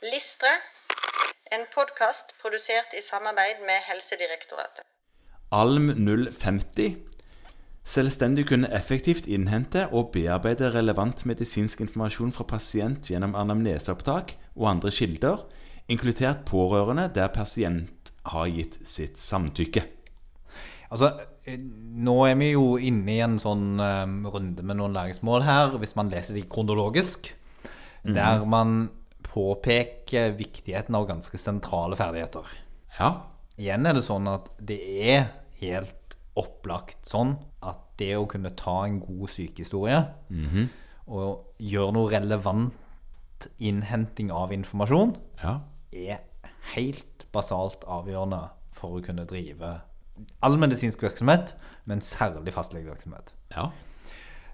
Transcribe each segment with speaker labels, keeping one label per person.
Speaker 1: Listre, en podkast produsert i samarbeid med Helsedirektoratet.
Speaker 2: ALM 050 Selvstendig kunne effektivt innhente og bearbeide relevant medisinsk informasjon fra pasient gjennom anamneseopptak og andre kilder, inkludert pårørende der pasient har gitt sitt samtykke.
Speaker 3: Altså, eh, nå er vi jo inne i en sånn eh, runde med noen læringsmål her, hvis man leser de kronologisk, der man påpeker viktigheten av ganske sentrale ferdigheter.
Speaker 2: Ja,
Speaker 3: Igjen er det sånn at det er helt opplagt sånn at det å kunne ta en god sykehistorie og gjøre noe relevant innhenting av informasjon,
Speaker 2: ja.
Speaker 3: er helt basalt avgjørende for å kunne drive all medisinsk virksomhet, men særlig fastlegevirksomhet.
Speaker 2: Ja.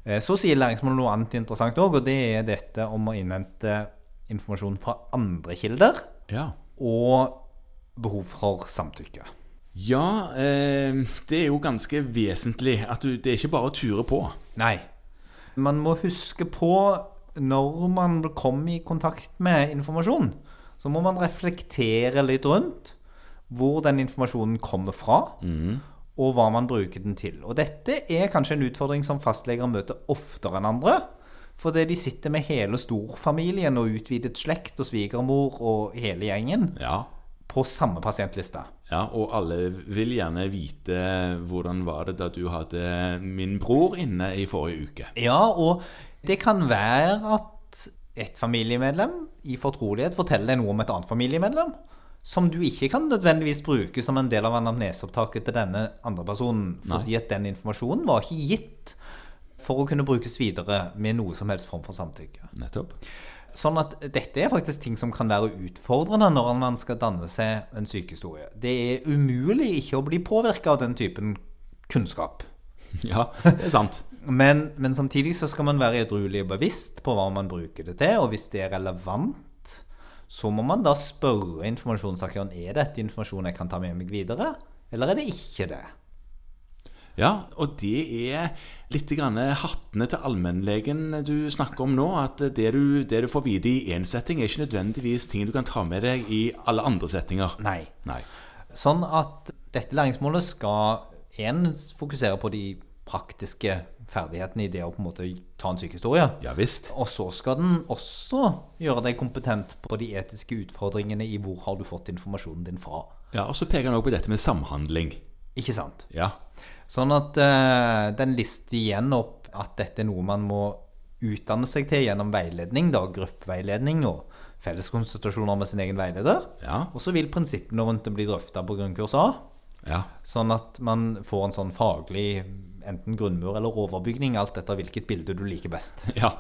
Speaker 3: Eh, Så sier læringsmålet noe annet interessant òg, og det er dette om å innhente informasjon fra andre kilder
Speaker 2: Ja.
Speaker 3: og behov for samtykke.
Speaker 2: ja eh, det er jo ganske vesentlig at du, det er ikke bare å ture på.
Speaker 3: Nei. Man må huske på når man kommer i kontakt med informasjon, så må man reflektere litt rundt hvor den informasjonen kommer fra, og hva man bruker den til. Og dette er kanskje en utfordring som fastleger møter oftere enn andre. Fordi de sitter med hele storfamilien og utvidet slekt og svigermor og hele gjengen
Speaker 2: Ja.
Speaker 3: på samme pasientliste.
Speaker 2: Ja, og alle vil gjerne vite hvordan var det da du hadde min bror inne i forrige uke.
Speaker 3: Ja, og det kan være at et familiemedlem i fortrolighet forteller deg noe om et annet familiemedlem, som du ikke kan nødvendigvis bruke som en del av anamneseopptaket til denne andre personen, fordi at den informasjonen var ikke gitt for å kunne brukes videre med noe som helst form for samtykke.
Speaker 2: Nettopp.
Speaker 3: Sånn at dette er faktisk ting som kan være utfordrende når man skal danne seg en sykehistorie. Det er umulig ikke å bli påvirka av den typen kunnskap.
Speaker 2: Ja, det er sant.
Speaker 3: Men, men samtidig så skal man være edruelig og bevisst på hva man bruker det til, og hvis det er relevant, så må man da spørre informasjonsaktøren er dette informasjon jeg kan ta med meg videre, eller er det ikke det.
Speaker 2: Ja, og det er litt grann hattene til allmennlegen du snakker om nå. At det du, det du får vite i én setting, er ikke nødvendigvis ting du kan ta med deg i alle andre settinger.
Speaker 3: Nei.
Speaker 2: Nei.
Speaker 3: Sånn at dette læringsmålet skal én fokusere på de praktiske ferdighetene i det å på en måte ta en sykehistorie.
Speaker 2: Ja visst.
Speaker 3: Og så skal den også gjøre deg kompetent på de etiske utfordringene i hvor har du fått informasjonen din fra.
Speaker 2: Ja, Og så peker han også på dette med samhandling.
Speaker 3: Ikke sant?
Speaker 2: Ja.
Speaker 3: Sånn at eh, den lister igjen opp at dette er noe man må utdanne seg til gjennom veiledning, da, gruppeveiledning og felleskonsultasjoner med sin egen veileder.
Speaker 2: Ja.
Speaker 3: Og så vil prinsippene rundt det bli drøfta på grunnkurs A,
Speaker 2: Ja.
Speaker 3: sånn at man får en sånn faglig enten grunnmur eller overbygning, alt etter hvilket bilde du liker best.
Speaker 2: ja.